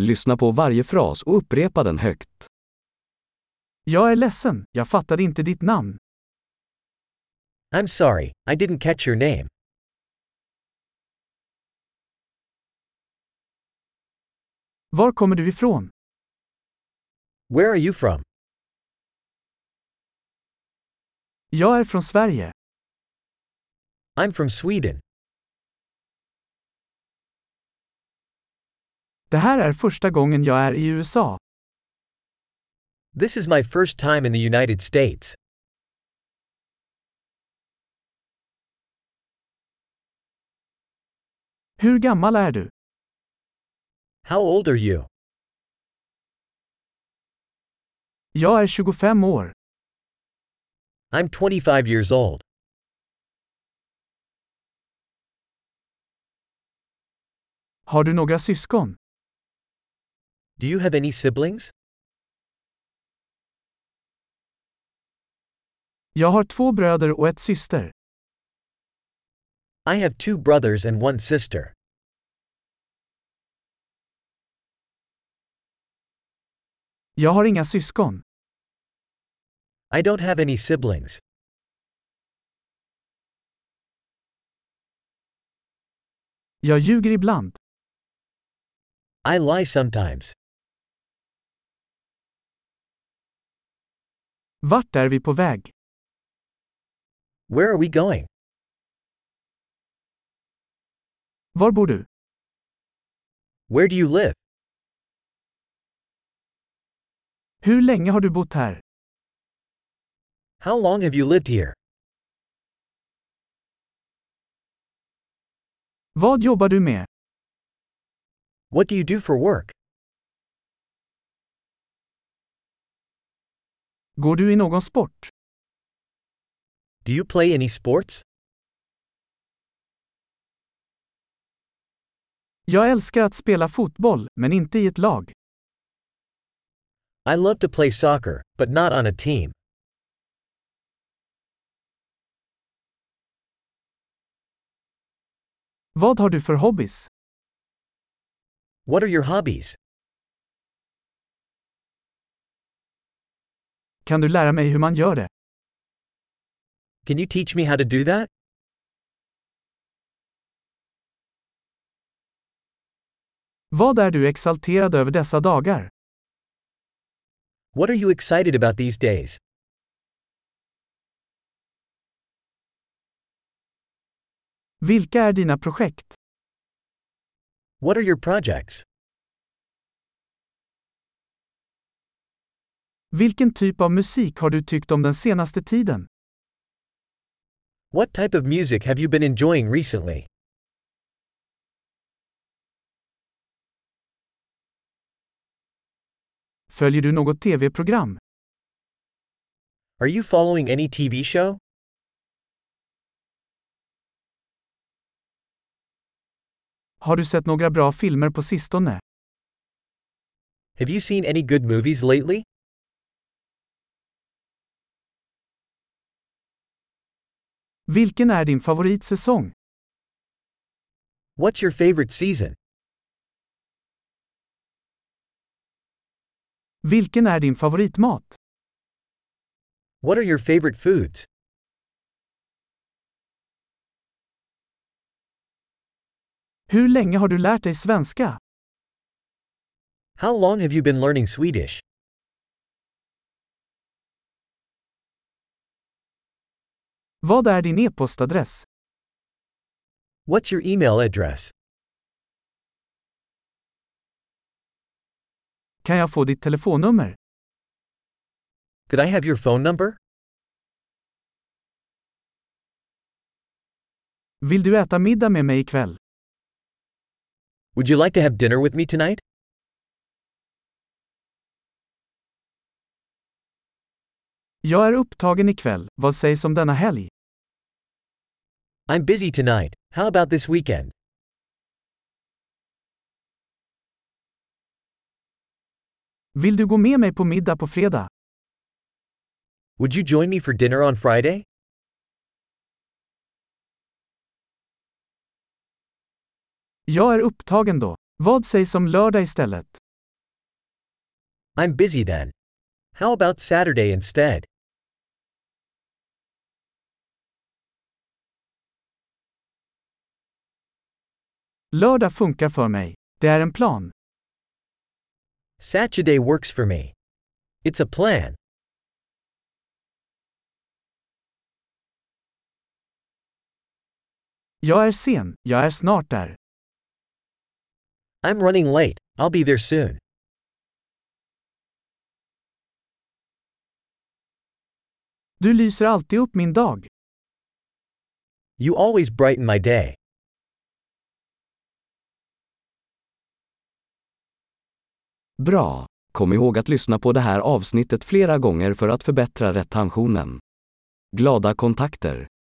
Lyssna på varje fras och upprepa den högt. Jag är ledsen, jag fattade inte ditt namn. I'm sorry, I didn't catch your name. Var kommer du ifrån? Where are you from? Jag är från Sverige. I'm from Sweden. Det här är första gången jag är i USA. This is my first time in the United States. Hur gammal är du? How old are you? Jag är 25 år. I'm 25 years old. Har du några syskon? Do you have any siblings? Jag har två bröder och ett syster. I have two brothers and one sister. Jag har inga syskon. I don't have any siblings. Jag ljuger ibland. I lie sometimes. Vart är vi på väg? Where are we going? Var bor du? Where do you live? Hur länge har du bott här? How long have you lived here? Vad jobbar du med? What do you do for work? Går du i någon sport? Do you play any sports? Jag älskar att spela fotboll, men inte i ett lag. I love to play soccer, but not on a team. Vad har du för hobbys? What are your hobbies? Kan du lära mig hur man gör det? Can you teach me how to do that? Vad är du exalterad över dessa dagar? What are you excited about these days? Vilka är dina projekt? What are your projects? Vilken typ av musik har du tyckt om den senaste tiden? What type of music have you been enjoying recently? Följer du något tv-program? Are you following any TV show? Har du sett några bra filmer på sistone? Have you seen any good movies lately? Vilken är din favoritsäsong? What's your favorite season? Vilken är din favoritmat? What are your favorite foods? Hur länge har du lärt dig svenska? How long have you been learning Swedish? Vad är din e-postadress? What's your email address? Kan jag få ditt telefonnummer? Could I have your phone number? Vill du äta middag med mig ikväll? Would you like to have dinner with me tonight? Jag är upptagen ikväll, vad sägs om denna helg? I'm busy tonight. How about this weekend? Vill du gå med mig på middag på fredag? Would you join me for dinner on Friday? Jag är upptagen då. Vad sägs om lördag istället? I'm busy then. How about Saturday instead? Lördag funkar för mig. Det är en plan. Saturday works for me. It's a plan. Jag är sen, jag är snart där. I'm running late. I'll be there soon. Du lyser alltid upp min dag. You always brighten my day. Bra! Kom ihåg att lyssna på det här avsnittet flera gånger för att förbättra retentionen. Glada kontakter!